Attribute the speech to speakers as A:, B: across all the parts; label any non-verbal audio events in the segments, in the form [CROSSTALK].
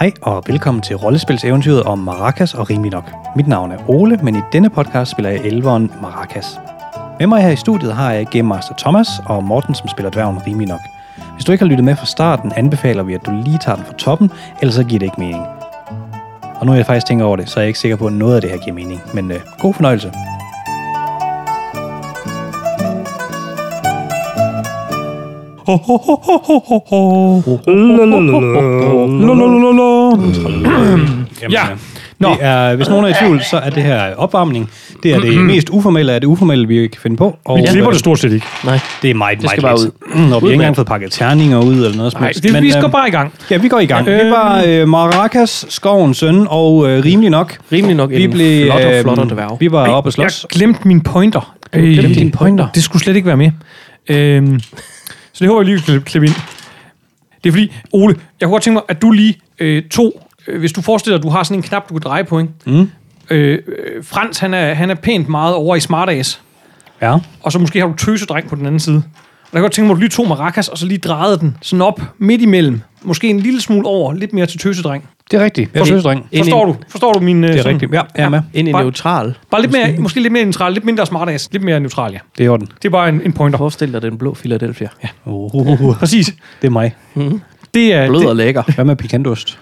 A: Hej og velkommen til rollespilseventyret om Maracas og Rimelig Nok. Mit navn er Ole, men i denne podcast spiller jeg elveren Maracas. Med mig her i studiet har jeg Game Master Thomas og Morten, som spiller dværgen Rimelig Nok. Hvis du ikke har lyttet med fra starten, anbefaler vi, at du lige tager den fra toppen, ellers så giver det ikke mening. Og nu er jeg faktisk tænker over det, så er jeg ikke sikker på, at noget af det her giver mening. Men øh, god fornøjelse. Jamen,
B: Ja.
A: øh,
B: Nå.
A: Det er, hvis nogen er i tvivl, så er det her opvarmning. Det er
B: [CLEARS THROAT]
A: det mest uformelle af det uformelle, vi kan finde på. Og
B: Vi klipper
A: øh,
B: det stort set ikke.
C: Nej.
A: Det er meget,
C: Det
A: meget
C: skal
A: lidt. Ud. Mm, Når vi ikke
C: Ud med
A: engang
C: det.
A: fået pakket terninger ud eller noget som
B: Nej,
A: helst.
B: det, vi
A: øh,
C: øhm,
B: skal bare Øhm. i gang.
A: Ja, vi går i gang. Det var øh, Maracas, Skovens søn, og øh, rimelig nok.
C: Rimelig nok
A: Vi
C: en
A: blev,
C: flot og
A: øh,
C: flot og dværg.
A: Vi var oppe og
B: Jeg
A: slås.
B: glemte mine pointer. Du
C: glemte dine pointer.
B: Det skulle slet ikke være med. Øhm, så det håber jeg lige, at klippe, klippe ind. Det er fordi, Ole, jeg kunne godt tænke mig, at du lige øh, to, øh, hvis du forestiller dig, at du har sådan en knap, du kan dreje på, ikke? Mm. Øh, øh, Frans, han er, han er pænt meget over i Smartass,
A: Ja.
B: og så måske har du tøsedreng på den anden side. Og der kan jeg godt tænke mig, at du lige tog maracas, og så lige drejede den sådan op midt imellem. Måske en lille smule over, lidt mere til tøsedreng.
A: Det er rigtigt. Ja. Forsøgsdreng.
C: Ind i-
B: Forstår du? Forstår du min...
A: Det er rigtigt. Ja, jeg er med.
C: Ind i
B: Bare-
C: neutral.
B: Bare lidt mere, måske lidt mere neutral, lidt mindre smartass, lidt mere neutral, ja.
A: Det er i orden.
B: Det er bare en, en pointer.
C: Forestil dig den blå Philadelphia. Ja.
A: Uh,
B: Præcis.
A: [LAUGHS] det er mig.
B: Det er,
C: Blød
B: det,
C: og lækker.
A: Hvad med pikantost?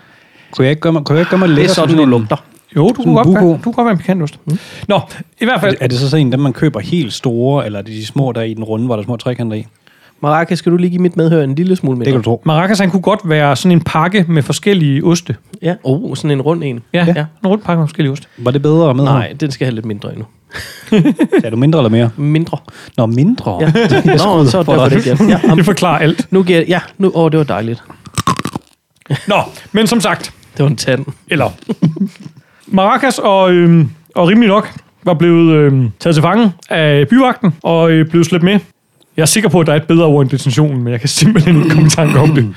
A: Kunne jeg ikke gøre mig, kunne jeg ikke gøre mig
C: Det
A: lækker
C: er sådan,
A: som
C: du
A: en-
C: lugter.
B: jo, du kan, godt
A: buko.
B: være, du kan godt være en pikantost. Mm. Nå, i hvert
A: Er
B: fald,
A: det- Er det så sådan en, dem man køber helt store, eller er det de små, der er i den runde, hvor der er små trekanter i? Det
C: Maraka, skal du lige give mit medhør en lille smule
A: kan
C: mindre?
A: du tro.
B: maracas han kunne godt være sådan en pakke med forskellige oste.
C: Ja. Oh, sådan en rund en.
B: Ja,
C: ja.
B: ja. en rund pakke med forskellige oste.
A: Var det bedre med?
C: Nej, den skal have lidt mindre endnu.
A: Er du mindre eller mere?
C: Mindre.
A: Nå, mindre. [LAUGHS]
C: Ja. Nå, så er det derfor det ikke. Ja. Ja,
B: Det forklarer alt.
C: nu giver jeg, ja, nu, åh, det var dejligt.
B: Nå, men som sagt,
C: Det var en tand.
B: eller... Maracas og, øhm, og rimelig nok var blevet øhm, taget til fange af byvagten og øh, blevet slæbt med. Jeg er sikker på, at der er et bedre ord end detentionen, men jeg kan simpelthen ikke komme i tanke om det.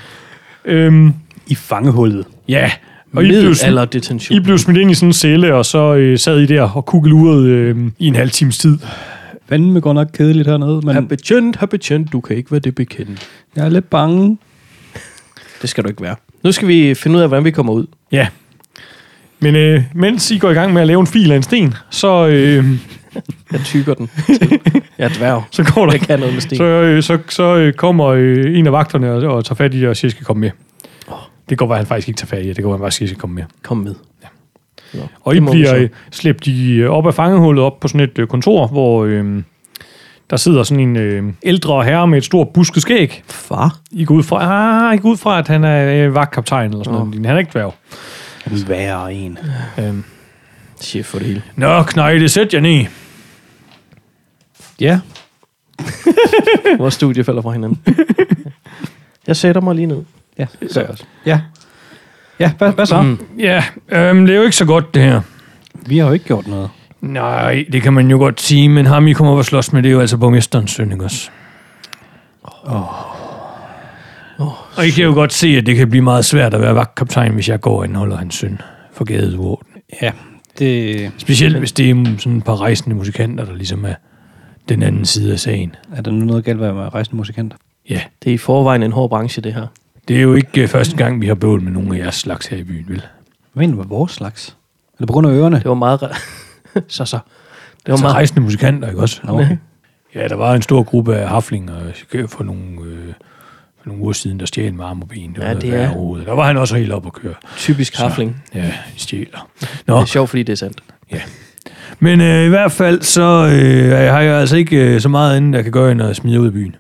B: Øhm,
A: I fangehullet.
B: ja, og I blev, sm-
C: Middelalderdetention.
B: I blev smidt ind i sådan en celle, og så øh, sad I der og kugelurede øh, i en halv times tid.
A: Fanden går nok kedeligt hernede, men
C: Her betjent, her betjent, du kan ikke være det bekendt.
A: jeg er lidt bange.
C: Det skal du ikke være. Nu skal vi finde ud af, hvordan vi kommer ud.
B: Ja. Men øh, mens I går i gang med at lave en fil af en sten, så, øh,
C: Jeg tykker den. Jeg er dværg.
B: så går der
C: Jeg kan noget med sten.
B: Så, øh, så, så øh, kommer øh, en af vagterne og, og tager fat i jer og siger, at I skal komme med. Det går, at han faktisk ikke tager fat i jer. Det går, at han faktisk ikke skal komme med.
C: Kom med. Nå,
B: Og I
C: det må vi
B: bliver
C: så.
B: øh, slæbt i, øh, op af fangehullet op på sådan et øh, kontor, hvor øh, der sidder sådan en øh, ældre herre med et stort busket skæg.
C: Far?
B: I går ud fra, ah, I går ud fra at han er øh, vagtkaptajn eller sådan
C: Nå.
B: noget. Han er ikke dværg.
A: Værre en.
B: Øhm.
C: Chef for det hele.
B: Nå, knejde, sæt jer ned.
A: Ja,
C: Vores studie falder fra
B: [LAUGHS]
C: hinanden. Jeg sætter mig lige ned.
A: ja. Så, ja. Ja, hvad, hvad så? Mm.
B: Ja, øhm, det er jo ikke så godt, det her.
A: Vi har jo ikke gjort noget.
B: Nej, det kan man jo godt sige, men ham, I kommer op og slås med, det er jo altså borgmesterens søn, ikke også? Oh. Og I kan jo godt se, at det kan blive meget svært at være vagtkaptajn, hvis jeg går og anholder hans søn for gade uorden.
A: Ja, det
B: Specielt hvis det er sådan et par rejsende musikanter, der ligesom er den anden side af sagen.
A: er der nu noget galt med at være rejsende musikant.
B: Ja,
C: Det er i forvejen en hård branche, det her.
B: det er jo ikke øh, første gang, vi har bøvlet med nogen af jeres slags her i byen, vel?
A: Hvad mener du med vores slags? Er det på grund af ørerne?
C: Det var meget... re- [LAUGHS] så, så. Det var
B: Altså
C: meget...
B: rejsende musikanter, ikke også?
A: Nå, okay.
B: Ja, der var en stor gruppe af haflinger øh, for nogle, øh, for nogle uger siden, der stjal en arm og ben. Det var
C: Ja,
B: noget
C: det
B: værre
C: er-
B: rod. Der var han også helt op at køre.
C: Typisk hafling. Det
B: Ja, de
C: [LAUGHS]
B: stjæler. Nå,
C: er sjovt, fordi det er sandt.
B: men øh, i hvert fald så øh, har jeg altså ikke øh, så meget andet, der kan gøre, end at smide ud af byen.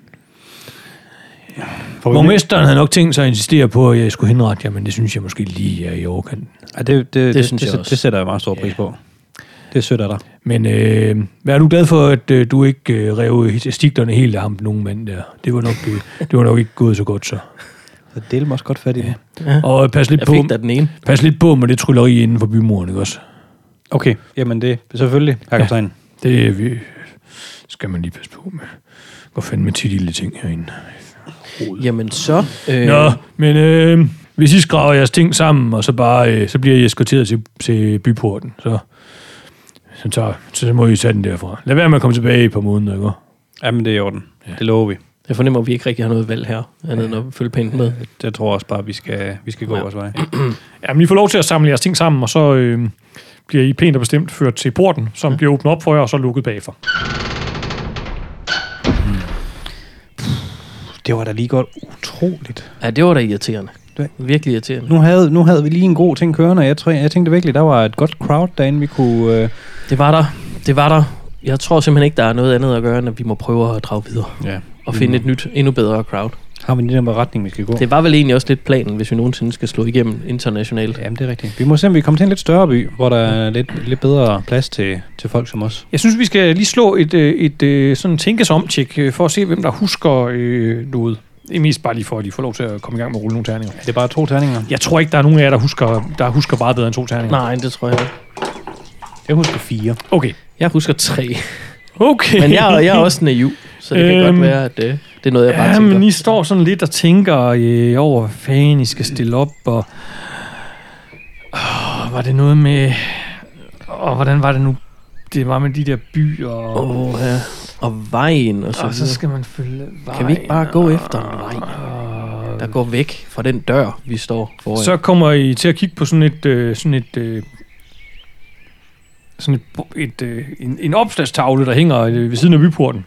A: Får vi med?
B: Borgmesteren havde nok tænkt sig at insistere på, at jeg skulle henrette jer, men det synes jeg måske lige er i overkanten.
A: Ja, det, det, det,
C: synes
A: det,
C: jeg
A: det,
C: også.
A: det, sætter jeg meget stor pris på. Det er sødt af dig.
B: Men øh, hvad er du glad for, at øh, du ikke øh, rev stiklerne helt af ham, den unge mand der? Det var nok, øh, det var nok ikke gået så godt så.
A: Så del mig også godt fat i det.
B: Og øh, pas lidt
C: Jeg
B: på...
C: fik da den ene.
B: Pas lidt på med det trylleri inden for bymuren, ikke også?
A: Okay, jamen det selvfølgelig, herr
B: Ja.
A: kaptajn.
B: Det øh, vi, skal man lige passe på med. Går fandme tit lille ting herinde.
C: Jamen så... Øh,
B: Nå, men øh, hvis I skraver jeres ting sammen, og så bare øh, så bliver I eskorteret til, til byporten, så, så, tager, så må I tage den derfra. Lad være med at komme tilbage i et par måneder, ikke?
A: Jamen det er i orden. Det lover vi.
C: Jeg fornemmer, at vi ikke rigtig har noget valg her, andet end at følge pænt med.
A: Jeg tror også bare, vi skal, vi skal gå
C: Ja.
A: vores vej.
B: Jamen, I får lov til at samle jeres ting sammen, og så øh, bliver I pænt og bestemt ført til porten, som ja. bliver åbnet op for jer, og så lukket bagfor.
A: Det var da lige godt utroligt.
C: Ja, det var da irriterende.
A: Det-
C: Virkelig irriterende.
A: Nu havde, nu havde vi lige en god ting kørende, og jeg, tror, jeg tænkte virkelig, der var et godt crowd derinde, vi kunne... Øh,
C: Det var der. Det var der. Jeg tror simpelthen ikke, der er noget andet at gøre, end at vi må prøve at drage videre
A: ja.
C: og finde et nyt, endnu bedre crowd.
A: Har vi lige den retning, vi skal gå?
C: Det var vel egentlig også lidt planen, hvis vi nogensinde skal slå igennem internationalt.
A: Jamen, det er rigtigt. Vi må se, om vi kommer til en lidt større by, hvor der er lidt, lidt bedre plads til, til folk som os.
B: Jeg synes, vi skal lige slå et, øh, et, et sådan tænkes om tjek for at se, hvem der husker øh, noget. Det er mest bare lige for, at de får lov til at komme i gang med at rulle nogle terninger.
A: Er det bare to terninger?
B: Jeg tror ikke, der er nogen af jer, der husker, der husker bare bedre end to terninger.
C: Nej, det tror jeg ikke.
A: Jeg husker fire.
B: Okay.
C: Jeg husker
B: [LAUGHS]
C: tre.
B: Okay.
C: Men jeg, er- jeg er også naiv, så det kan
B: Øhm,
C: godt være, at det, det er noget, jeg bare
B: [LAUGHS] Ja,
C: tænker.
B: men I står sådan lidt og tænker øh, over, hvad fanden I skal stille op, og oh, var det noget med, og hvordan var det nu, det var med de der byer, og,
C: Åh, ja. Og vejen og så,
B: og så
C: videre.
B: skal man følge vejen.
C: Kan vi ikke bare gå efter en vej,
B: og-
C: der går væk fra den dør, vi står foran?
B: Så kommer I til at kigge på sådan et, øh, sådan et, øh, sådan et, bo- et øh, en, en opslagstavle, der hænger øh, ved siden af byporten.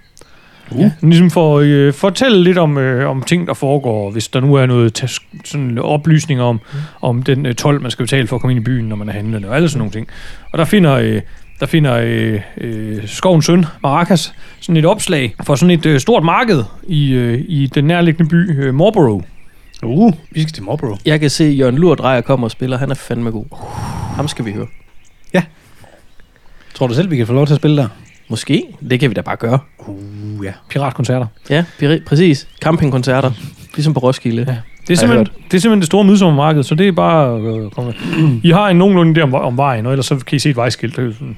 A: Uh.
B: Ja. Ligesom for at øh, fortælle lidt om, øh, om ting, der foregår, hvis der nu er noget tas- sådan oplysninger om, mm. om den øh, 12, man skal betale for at komme ind i byen, når man er handlende og alle sådan nogle ting. Og der finder, øh, der finder øh, øh, Skovens Søn, Maracas, sådan et opslag for sådan et øh, stort marked i, øh, i den nærliggende by øh, Marlborough.
A: Uh, vi skal til Marlboro.
C: Jeg kan se, at Jørgen Lurdrejer kommer og spiller. Han er fandme god. Ham skal vi høre.
A: Tror du selv, vi kan få lov til at spille der?
C: Måske. Det kan vi da bare gøre.
A: Uh, ja.
B: Piratkoncerter.
C: Ja, pir- præcis. Campingkoncerter. Ligesom på Roskilde.
B: Ja.
C: Ja.
B: Det er,
C: Har jeg
B: simpelthen, det er simpelthen det store midsommermarked, så det er bare øh, komme. I har en nogenlunde der om, om vejen, og ellers så kan I se et vejskilt. Det er jo sådan-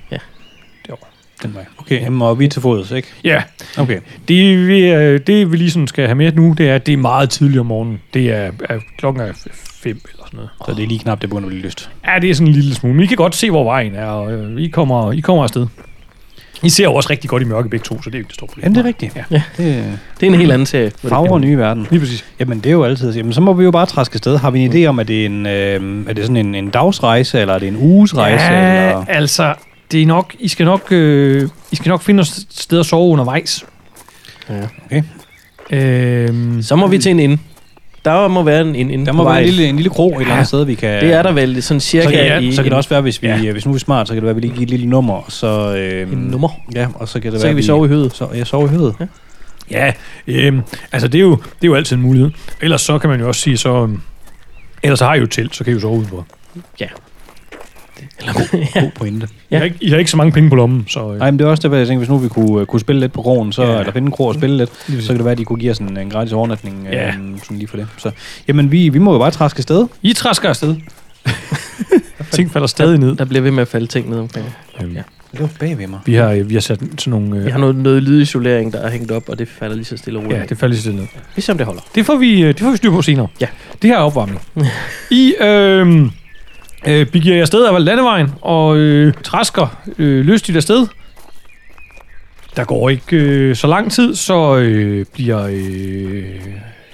A: Den vej. Okay, jamen, og vi er til fods, ikke?
B: Ja,
A: Okay.
B: det vi, øh, det vi lige sådan skal have med nu, det er, at det er meget tidligt om morgenen. Det er, er klokken er f- fem eller sådan noget.
A: Så det er lige knap det bund, vi lyst.
B: Ja, det er sådan en lille smule, men I kan godt se, hvor vejen er, og øh, I, kommer, I kommer afsted. I ser jo også rigtig godt i mørke begge to, så det er jo ikke det store problem.
A: Jamen, det er rigtigt.
B: Ja.
A: Det er
C: Det er en helt anden serie. hvor det
A: fagre
C: kan-
A: nye verden.
B: Lige præcis.
A: Jamen, det er jo altid. Jamen, så må vi jo bare træske afsted. Har vi en idé om, at det er, en, øh, er det sådan en, en dagsrejse, eller er det en uges rejse?
B: ja,
A: Eller?
B: altså, det er nok, I skal nok, øh, I skal nok finde et sted at sove undervejs.
C: Ja.
B: Øhm,
C: Så må vi til en inde. Der må være en inde
A: Mm. Der
C: på
A: må være
C: vejen.
A: en lille, en lille krog et eller andet
C: Ja.
A: sted, vi kan...
C: Det er der vel sådan cirka
A: Så kan, ja,
C: i
A: så kan det også være, hvis, vi,
B: Ja.
A: ja. hvis nu er vi smart, så kan det være, at vi lige giver et lille nummer, og så... Øh,
C: en nummer.
A: Ja, og så kan det
C: Så
A: være,
C: kan vi sove i hødet.
A: Så, jeg sover i
C: [LAUGHS]
A: høvet. Ja.
B: Ja, øhm, altså det er, jo, det er jo altid en mulighed. Ellers så kan man jo også sige, så... øhm, Ellers så har I jo et telt, så kan I jo sove udenfor.
C: Eller, ja.
A: God pointe.
B: Ja.
C: Ja.
B: I, har ikke, I har ikke så mange penge på lommen, så... Øh,
A: Nej, men det er også det, hvad jeg tænkte, hvis nu vi kunne, øh, kunne spille lidt på krogen, så,
B: Ja.
A: ja. eller finde en krog og spille lidt,
B: Lige
A: så kan det være, at de kunne give os en, en gratis overnatning øh,
B: Ja.
A: sådan lige for det. Så, jamen, vi, vi må jo bare træske afsted.
B: I træsker afsted. [LAUGHS] Ting falder stadig ned.
C: Der bliver ved med at falde ting ned omkring.
B: Øhm,
C: Ja.
A: Det var bag ved mig.
B: Vi har, øh, vi har sat sådan nogle... Øh,
C: Vi har noget, noget lydisolering, der er hængt op, og det falder lige så stille og roligt.
B: ja,
C: Ja,
B: det falder lige stille ned.
C: Vi ser, om det holder.
B: Det får vi, øh, det får vi styr på senere.
C: Ja.
B: Det her er opvarmning. [LAUGHS] I øh, øh, begiver jer afsted af landevejen og øh, træsker øh, lystigt afsted. Der går ikke øh, så lang tid, så øh, bliver øh,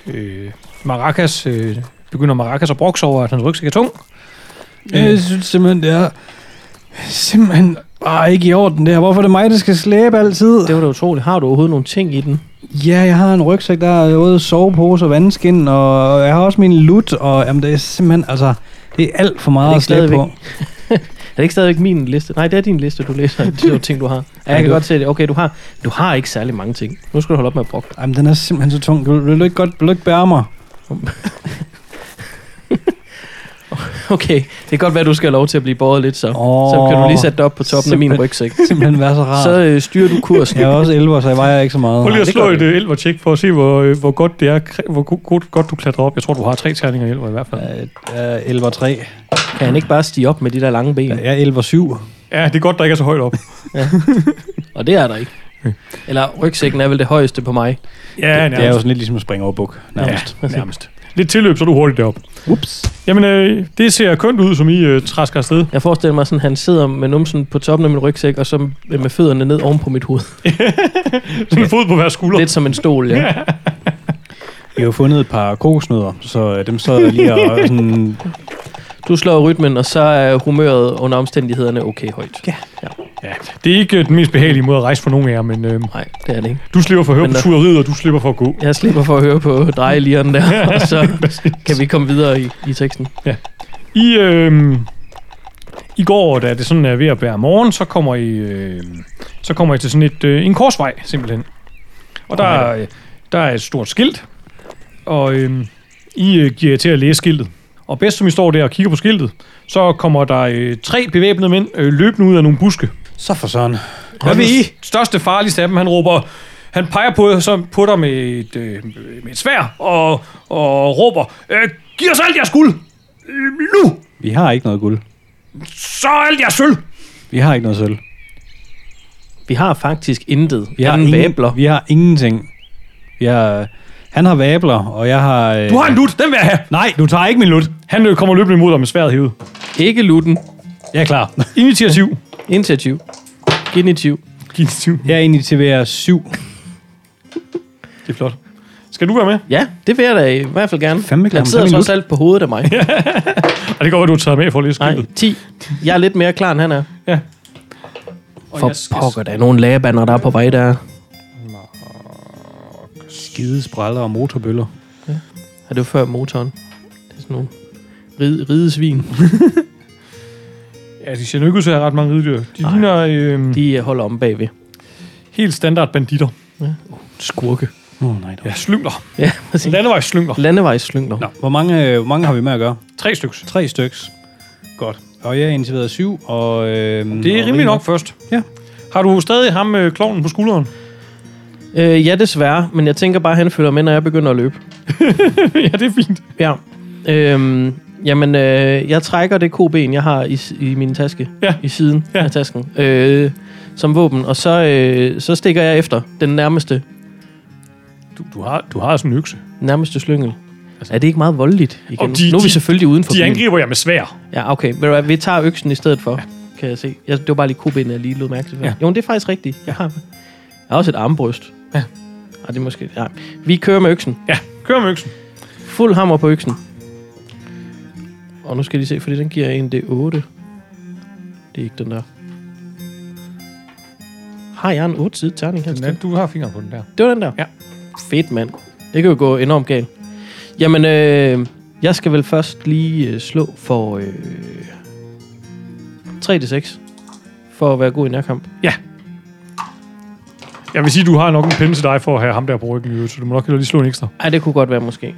B: øh, Maracas, øh, begynder Maracas at brokse over, at hans rygsæk er tung.
A: Jeg synes simpelthen, det er simpelthen bare ikke i orden der. Hvorfor er det mig, der skal slæbe altid?
C: Det var da utroligt. Har du overhovedet nogle ting i den?
A: Ja, jeg har en rygsæk, der er både sovepose og vandskin, og jeg har også min lut, og jamen, det er simpelthen, altså, det er alt for
C: Er
A: meget
C: det
A: at
C: ikke
A: slæbe på.
C: Er det ikke stadigvæk min liste? Nej, det er din liste, du læser. Det er jo ting, du har. Ja, jeg kan godt se det. Okay, du har, du har ikke særlig mange ting. Nu skal du holde op med at brokke dig. [LAUGHS]
A: Jamen, den er simpelthen så tung. Vil, vil du ikke godt vil du ikke bære mig?
C: Okay, det kan godt være, du skal have lov til at blive båret lidt, så.
A: Åh.
C: så kan du lige sætte dig op på toppen af min
A: Simpelthen.
C: rygsæk.
A: [LAUGHS] Simpelthen være så rar.
C: Så øh, styrer du kursen.
A: Jeg er også 11, så jeg vejer ikke så meget.
B: Prøv lige at
C: det
B: slå
C: gør
B: et
C: vi.
B: øh, elvertjek for at se, hvor, øh, hvor godt det er, kre- hvor go- godt, godt du klatrer op. Jeg tror, du har tre terninger i elver i hvert fald.
A: Jeg er 11 og 3.
C: Kan han ikke bare stige op med de der lange ben?
A: Jeg er 11 og 7.
B: Ja, det er godt, der ikke er så højt op.
C: Og det er der ikke. Eller rygsækken er vel det højeste på mig.
B: Ja,
A: Det er jo sådan lidt ligesom at springe over buk, nærmest.
B: Ja, nærmest. Lidt tilløb, så er du hurtigt derop.
A: Ups.
B: Jamen, øh, det ser kønt ud, som I øh, træsker afsted.
C: Jeg forestiller mig sådan, at han sidder med numsen på toppen af min rygsæk, og så med fødderne ned oven på mit hoved.
B: Sådan en fod på hver skulder.
C: Lidt som en stol, ja.
A: Vi har jo fundet et par kokosnødder, så øh, dem sad jeg lige og og sådan...
C: Du slår rytmen, og så er humøret under omstændighederne okay højt.
A: Ja.
B: Ja, det er ikke øh, den mest behagelige måde at rejse for nogen af jer, men øh,
C: Nej, det er det ikke.
B: du slipper for at høre
C: Men
B: på
C: der-
B: turet, og du slipper for at gå.
C: Jeg slipper for at høre på
A: [LAUGHS]
C: drejelieren der, og så kan vi komme videre i, i teksten.
B: I, øh, I går, da det sådan er ved at være morgen, så kommer I, øh, så kommer I til sådan et, øh, en korsvej, simpelthen. Og der, er, øh, der er et stort skilt, og øh, I øh, giver jer til at læse skiltet. Og bedst som I står der og kigger på skiltet, så kommer der øh, tre bevæbnede mænd øh, løbende ud af nogle buske.
A: Så for sådan.
B: Hvad vil I? Største farligste af dem, han råber, han peger på, så på dig med et, øh, med et svær og, og råber, øh, giv os alt jeres guld! Øh, nu!
A: Vi har ikke noget guld.
B: Så alt jeres sølv!
A: Vi har ikke noget sølv.
C: Vi har faktisk intet.
A: Vi har,
C: ingen
A: ingen-
C: væbler.
A: vi har ingenting. Vi har, han har væbler, og jeg har... Øh,
B: Du har en lut, den vil jeg have.
A: Nej, du tager ikke min lut.
B: Han øh, kommer løbende imod dig med sværet hævet.
C: Ikke lutten.
A: Jeg er klar.
B: [LAUGHS] Initiativ.
C: Initiativ. Genitiv.
B: Initiativ.
A: Jeg initiverer syv.
B: Det er flot. Skal du være med?
C: Ja, det vil jeg da i hvert fald gerne.
A: Fandme klar,
C: Han
A: men
C: sidder
A: fandme
C: trods alt på hovedet af mig.
B: Og det går, at du har taget med for at læse
C: Nej,
B: skiltet.
C: 10. Jeg er lidt mere klar, end han er.
B: Og
C: For
B: jeg skal-
C: pokker, der er nogle lagebander, der er på vej der.
A: Skide spræller og motorbøller.
C: Ja, det var før motoren. Det er sådan nogle ride, ridesvin.
B: Ja, de ser nu ikke ud til at have ret mange ridedyr. De
C: Nej.
B: ligner
C: [LAUGHS]
B: øh,
C: De øh, holder om bagved.
B: helt standard banditter.
C: Skurke.
A: Åh, oh, nej.
B: Ja, slyngler.
C: Ja, præcis.
B: Landevejsslyngler.
C: Landevejsslyngler.
A: Nå, hvor mange, øh, hvor mange har vi med at gøre?
B: Tre styks.
A: Tre styks. Godt. Og jeg initiverede syv, og... Øh,
B: Det er rimelig nok først.
A: Ja.
B: Har du stadig ham med øh, klovnen på skulderen?
C: Øh, ja, desværre, men jeg tænker bare, at han følger med, når jeg begynder at løbe.
B: [LAUGHS] ja, det er fint.
C: Ja. Øhm, jamen, øh, jeg trækker det koben, jeg har i, s- i min taske.
B: Ja.
C: I siden
B: Ja.
C: ja. af tasken. Øh, som våben. Og så, øh, så stikker jeg efter den nærmeste,
B: Du, du, har, du har sådan en økse. nærmeste
C: nærmeste slyngel. Altså, er det ikke meget voldeligt igen?
B: Og de-
C: nu er vi
B: de-
C: selvfølgelig uden for
B: De
C: byen.
B: angriber jer med svær.
C: Ja, okay. Ved du hvad, vi tager øksen i stedet for, ja. kan jeg se. Jeg, det var bare lige kobenet, jeg lige lod mærke til.
B: Ja.
C: Ja. Jo, men det er faktisk rigtigt. Jeg har, jeg har også et armbryst.
B: Ja.
C: Ej, det er måske... Ja. Vi kører med øksen.
B: Ja, kør med øksen.
C: Fuld hammer på øksen. Og nu skal de se, fordi den giver en D8. Det er ikke den der. Har jeg en 8-side terning her?
B: Den er- Du har fingeren på den der.
C: Det var den der?
B: Ja.
C: Fedt, mand. Det kan jo gå enormt galt. Jamen, øh, jeg skal vel først lige øh, slå for øh, 3-6 for at være god i nærkamp.
B: Jeg vil sige, du har nok en pinde til dig for at have ham der på ryggen, i øvrigt, så du må nok hellere lige slå en ekstra.
C: Ej, det kunne godt være måske.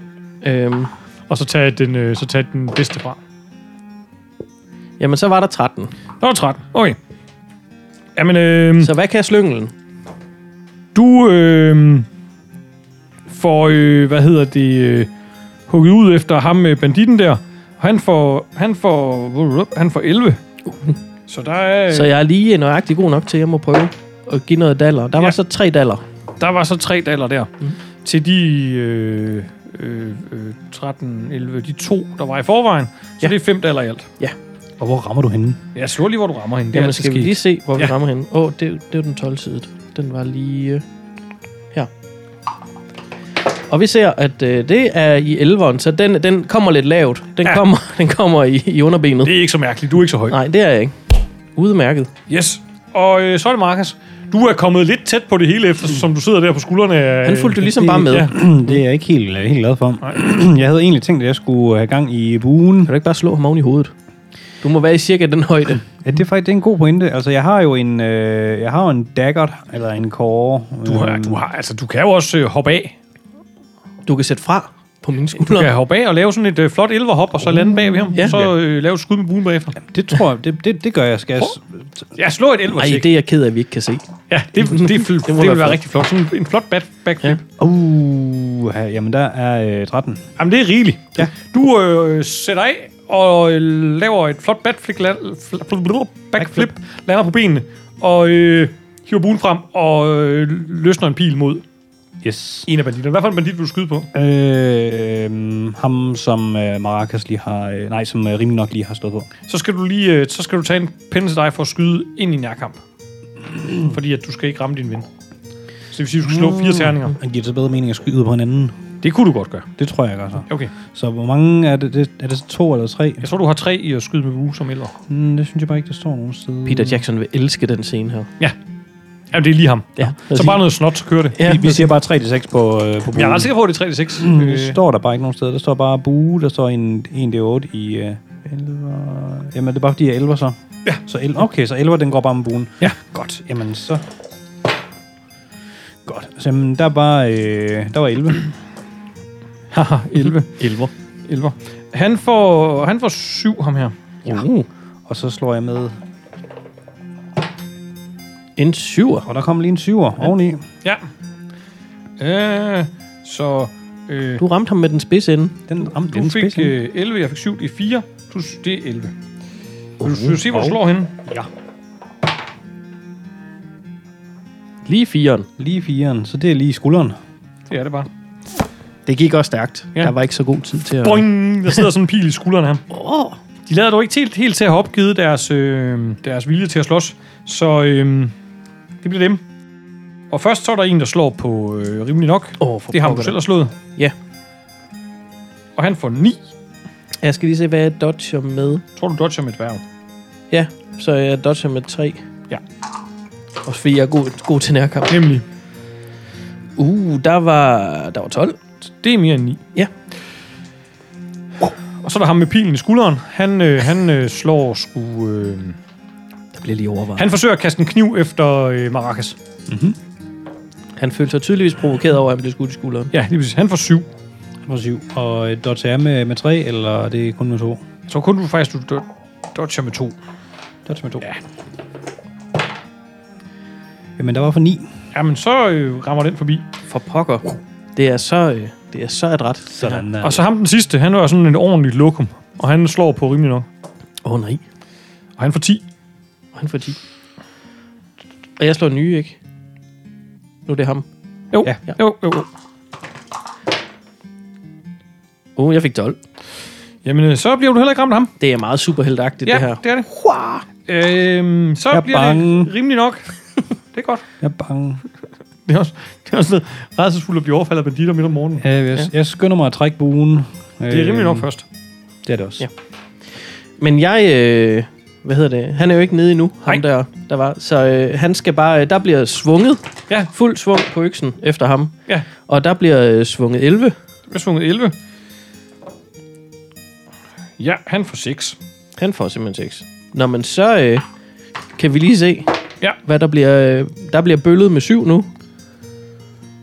C: Øhm,
B: Og så tage den, øh, så tage den bedste fra.
C: jamen, så var der 13.
B: Der var 13. Okay. Jamen, øh,
C: Så hvad kan jeg slyngelen?
B: du øh, får, øh, hvad hedder det, øh, hugget ud efter ham med banditten der. Og han får, han får, han får 11. Uh. Så der er,
C: Så jeg er lige nøjagtig god nok til, at jeg må prøve at give noget daller. Der var
B: Ja.
C: så tre daller.
B: der var så tre daler der. Mm.
C: Mm.
B: Til de øh, øh, øh, 13, 11, de to, der var i forvejen. Så ja.
C: Ja.
B: det er fem daler i alt.
A: Og hvor rammer du henne? [CLEARS THROAT]
B: Jeg slår lige, hvor du rammer hende. Det er
C: Jamen,
B: altid
C: skal vi
B: sket.
C: lige se, hvor vi
B: Ja.
C: rammer hende. Åh, oh, det, det var den 12-sidede. Den var lige øh, her. Og vi ser, at øh, det er i 11'eren, så den, den kommer lidt lavt. Den,
B: Ja.
C: ja. kommer, [LAUGHS] den kommer i, i underbenet.
B: Det er ikke så mærkeligt. Du er ikke så høj.
C: Nej, det er jeg ikke. Udmærket.
B: Yes. Og øh, så er det Markus. Du er kommet lidt tæt på det hele, efter, som du sidder der på skuldrene. af-
C: Han fulgte jo ligesom
A: det-
C: bare med.
B: Øh, ja.
C: Ja.
A: det er jeg ikke helt, øh, helt glad for. [CLEARS THROAT] jeg havde egentlig tænkt, at jeg skulle have gang i buen.
C: Kan du ikke bare slå ham oven i hovedet? Du må være i cirka den højde.
A: Ja, det er faktisk det er en god pointe. Altså, jeg har jo en, øh, jeg har jo en dagger, eller en kåre. øhm,
B: Du, har, du, har, altså, du kan jo også øh, hoppe af.
C: Du kan sætte fra på mine
B: Du
C: skuldre.
B: kan hoppe af og lave sådan et øh, flot elverhop, og så lande bag ved ham. Ja.
C: Ja.
B: Så øh, lave et skud med buen bagefter.
A: Det tror jeg, det, det, det gør jeg. Skal jeg s-
B: Ja, slå et elver
C: Ej, det er jeg ked af, at vi ikke kan se.
B: Ja, det, det, det, det, det,
C: være
B: det vil være
C: flot.
B: rigtig flot. Sådan en flot back, backflip.
C: Ja.
B: Ja.
A: Uh, ja, jamen der er øh, 13.
B: Jamen, det er rigeligt.
A: Ja.
B: Du øh, sætter af og øh, laver et flot backflip, la- fl- fl- fl- backflip lander på benene, og øh, hiver buen frem og øh, løsner en pil mod
A: Yes.
B: en af banditterne. Hvad for en bandit vil du skyde på?
A: Øh, øh, ham, som øh, Maracas lige har... Øh, nej, som øh, rimelig nok lige har stået på.
B: så skal du lige øh, så skal du tage en pinde til dig for at skyde ind i nærkamp. Fordi at du skal ikke ramme din ven. Så det vil sige, at du skal slå fire terninger.
A: Han giver det så bedre mening at skyde på hinanden.
B: Mm. Det kunne du godt gøre.
A: Det tror jeg altså. godt. Så.
B: Okay.
A: så hvor mange er det? det er det så to eller tre?
B: Jeg tror, du har tre i at skyde med bue som ældre.
A: Mm, det synes jeg bare ikke, der står nogen sted.
C: Peter Jackson vil elske den scene her.
B: Jamen, det er lige ham.
C: Ja.
B: Så bare noget snot, så kører det.
C: Ja,
A: Vi, vi siger bare 3-6 på, øh, på buen.
B: Jeg er ret sikker på, at det er 3-6.
A: Mm,
B: Øh,
A: det står der bare ikke nogen steder. Der står bare bue, der står en, en D8 i øh, 11. Jamen, det er bare fordi, jeg er 11 så. Ja. Så 11, okay, så 11, den går bare med buen.
B: Ja.
A: Godt, jamen så... Godt. Så jamen, der var, øh, der var 11.
B: Haha, [LAUGHS] 11.
C: 11.
B: 11. Han får, han får 7, ham her.
C: Uh,
A: og så slår jeg med...
C: en syver.
A: Og der kom lige en 7'er oveni.
B: Ja. Øh, så øh,
C: Du ramte ham med den spidse ende.
A: Den ramte
B: du
A: den
B: fik
A: spids. ind.
B: øh, 11, jeg fik 7, det er 4, plus det er 11. Vil du, vil du se, hvor du slår henne?
A: Ja.
C: Lige firen.
A: Lige firen, så det er lige i skulderen.
B: Det er det bare.
D: Det gik også stærkt.
B: Ja.
D: Ja. Der var ikke så god tid til at...
B: Boing! Der sidder sådan en pil i skulderen af ham. De lader dog ikke helt, helt til at have opgivet deres, øh, deres vilje til at slås, så øh, det bliver dem. Og først så er der en, der slår på øh, rimelig nok.
C: Åh, for
B: Det har du
C: pokker
B: selv har slået.
C: Ja.
B: Og han får 9.
C: da. Jeg skal lige se, hvad jeg dodger med.
B: Tror du, dodger med dværg?
C: Ja, så jeg dodger med 3.
B: Ja.
C: Også fordi jeg er god, god til nærkamp.
B: Nemlig.
C: Uh, der var, der var 12.
B: Det er mere end 9.
C: Ja.
B: Og så er der ham med pilen i skulderen. Han, øh, han øh, slår sgu... Øh,
C: Der bliver lige overvejet. Han,
B: han forsøger at kaste en kniv efter øh, Maracas.
C: han følte sig tydeligvis provokeret over, at han blev skudt i skulderen.
B: Ja, lige præcis. Han får 7.
A: For 7. Og øh, dodger jeg med, med 3, eller det er kun med 2?
B: Jeg tror kun, du faktisk du do- dodger med 2.
A: Dodger med 2.
B: Ja.
A: Jamen, der var for 9.
B: Jamen, så øh, rammer den forbi.
C: For pokker. Det er så, øh, det er så et ret.
A: Sådan der.
B: Og så ham den sidste, han var sådan en ordentlig lokum. Og han slår på rimelig nok.
C: Åh oh, nej.
B: Og han får 10.
C: Og han får 10. Og jeg slår nye, ikke? Nu er det ham.
B: Jo,
A: Ja.
B: ja. jo, jo, jo.
C: Uh, jeg fik 12.
B: Jamen, øh, så bliver du heller ikke ramt af ham.
C: Det er meget superheltagtigt,
B: Ja,
C: det her.
B: det er det. Øhm, så
A: Jeg er
B: bliver
A: bange.
B: det rimelig nok. det er godt.
A: Jeg er bange.
B: Det er også, det er også noget rædselsfuldt at blive overfaldet af banditter midt om morgenen.
A: Ja, jeg, ja. jeg skynder mig at trække buen. Øhm,
B: Det er rimelig nok først.
A: Det er det også.
C: Ja. Men jeg... Øh, hvad hedder det? Han er jo ikke nede endnu, ham
B: Nej.
C: der, der var. Så øh, han skal bare... Øh, der bliver svunget.
B: Ja.
C: Fuld svung på øksen efter ham.
B: Ja.
C: Og der bliver øh, svunget 11.
B: Det bliver svunget 11. Ja, han får 6.
C: Han får simpelthen 6. Nå, men så øh, kan vi lige se,
B: Ja.
C: hvad der bliver... Øh, der bliver bøllet med 7 nu.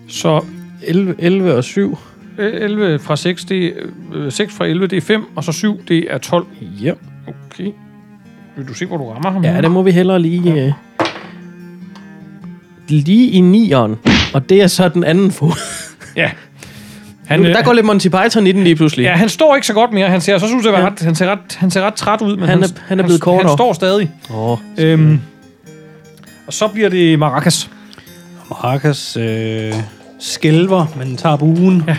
B: Så
C: 11, 11 og 7.
B: øh, 11 fra 6, det er, øh, 6 fra 11, det er 5, og så 7, det er 12.
C: Ja.
B: Okay. Vil du se, hvor du rammer ham?
C: Ja, det må vi hellere lige... Øh, lige i nieren. Og det er så den anden fod.
B: ja. Han,
C: Han,
B: øh,
C: der går lidt Monty Python i den lige pludselig.
B: Ja, han står ikke så godt mere. Han ser, så synes jeg, at
C: Ja.
B: ret, han, ser ret, han ser ret træt ud. Men
C: Han er- han er blevet
B: Han,
C: kortere.
B: han står stadig.
C: Åh, oh,
B: Øhm, og så bliver det Maracas.
A: Marcus øh, skælver, men tager buen.
B: Ja.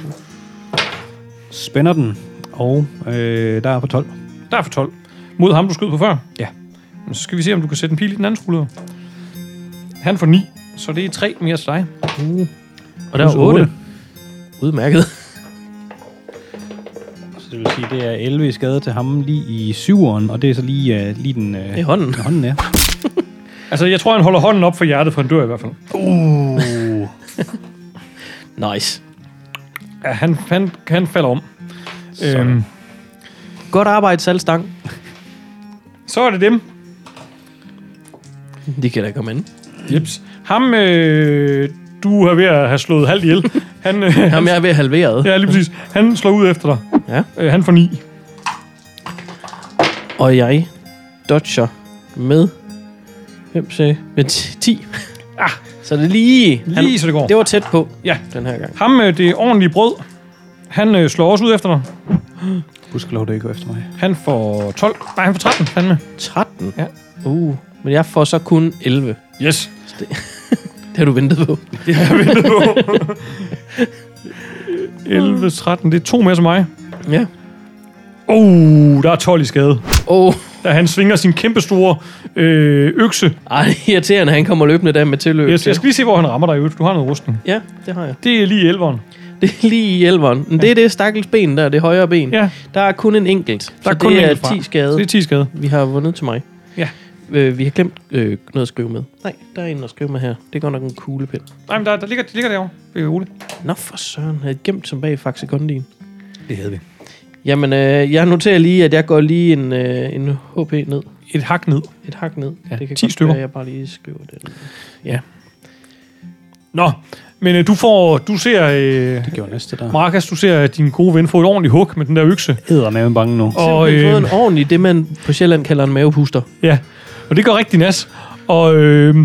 A: Spænder den. Og øh, der er på 12.
B: Der er for 12. Mod ham, du skød på før.
A: Ja.
B: Men så skal vi se, om du kan sætte en pil i den anden skulder. Han får 9, så det er 3 mere til dig.
C: og der er
A: Plus
C: 8.
A: otte.
C: Udmærket.
A: Så det vil sige, det er 11 i skade til ham lige i 7'eren. Og det er så lige, øh, lige den... Øh,
C: I hånden.
A: den Hånden, ja.
B: Altså, jeg tror, han holder hånden op for hjertet, for han dør i hvert fald.
A: Uh.
C: Nice.
B: Ja, han, han, han falder om. Øhm,
C: Godt arbejde, salgstang.
B: så er det dem.
C: De kan da komme ind.
B: Jeps. Ham, øh, du er ved at have slået halvt ihjel. [LAUGHS] Han, øh,
C: Jamen, jeg er ved halveret.
B: ja, lige præcis. Han slår ud efter dig.
C: Ja.
B: Øh, han får 9.
C: Og jeg dodger med 5, 6, med 10.
B: Ah.
C: Så det er lige... Han,
B: Lige så det går.
C: det var tæt på
B: Ja.
C: den her gang.
B: Ham, øh, det er ordentligt brød. Han øh, slår også ud efter dig.
A: Husk lov, det ikke går efter mig.
B: Han får 12. Nej, han får 13. Fandme.
C: 13?
B: Ja.
C: Uh, men jeg får så kun 11.
B: Yes.
C: Det har du ventet på.
B: Det har jeg ventet på. 11, 13. Det er to mere som mig.
C: Ja.
B: Oh, der er 12 i skade.
C: Åh, oh,
B: Da han svinger sin kæmpestore øh, økse.
C: ej, irriterende, han kommer løbende der med tilløb.
B: Jeg, jeg skal lige se, hvor han rammer dig i øvrigt. Du har noget rustning.
C: Ja, det har jeg.
A: Mm.
B: Det er lige 11'eren.
C: Det er lige i elveren. Men det er det stakkels ben der, det højre ben.
B: Ja,
C: Der er kun en enkelt.
B: der
C: så
B: er kun
C: det
B: en
C: er
B: enkelt fra.
C: 10 skade,
B: Så det er 10 skade.
C: vi har vundet til mig.
B: Ja.
C: Øh, vi har glemt øh, noget at skrive med. Nej, der er en at skrive med her. Det er godt nok en kuglepind.
B: Nej, men der, der ligger, de ligger derovre. Det er roligt.
C: Nå for søren, jeg havde gemt som bag i faxekondien.
A: Det havde vi.
C: Jamen, øh, jeg noterer lige, at jeg går lige en, øh, en HP ned.
B: Et hak ned.
C: Et hak ned.
B: Ja,
C: det kan
B: 10
C: godt
B: stykker.
C: Være, at jeg bare lige skriver det.
B: Nå, men øh, du får, du ser, øh,
A: Det gjorde næste der.
B: Markus, du ser øh, din gode ven få et ordentligt hug med den der økse.
A: Hedder med bange nu.
B: Og,
C: Og øh, fået
B: øh,
C: en ordentlig, det man på Sjælland kalder en mavepuster.
B: ja, og det gør rigtig nas. Og øh,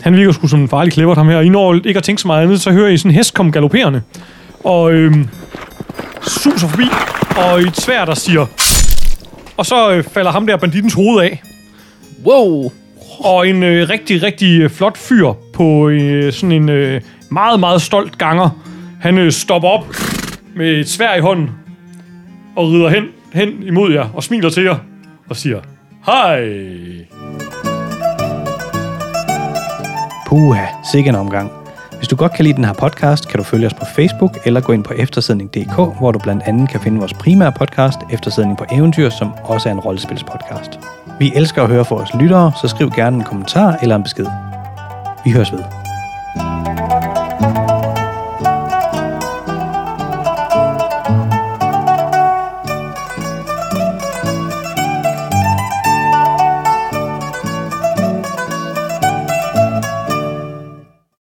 B: han virker sgu som en farlig klippert, ham her. Og I når ikke at tænke så meget andet, så hører I sådan en hest komme galopperende. Og øh, suser forbi, og et svær, der siger... Og så øh, falder ham der bandittens hoved af.
C: Wow!
B: Og en øh, rigtig, rigtig øh, flot fyr på øh, sådan en øh, meget, meget stolt ganger. Han øh, stopper op med et svær i hånden og rider hen, hen imod jer og smiler til jer og siger, Hej!
A: Puha, sikke en omgang. Hvis du godt kan lide den her podcast, kan du følge os på Facebook eller gå ind på eftersidning.dk, hvor du blandt andet kan finde vores primære podcast, Eftersidning på Eventyr, som også er en rollespilspodcast. Vi elsker at høre fra vores lyttere, så skriv gerne en kommentar eller en besked. Vi høres ved.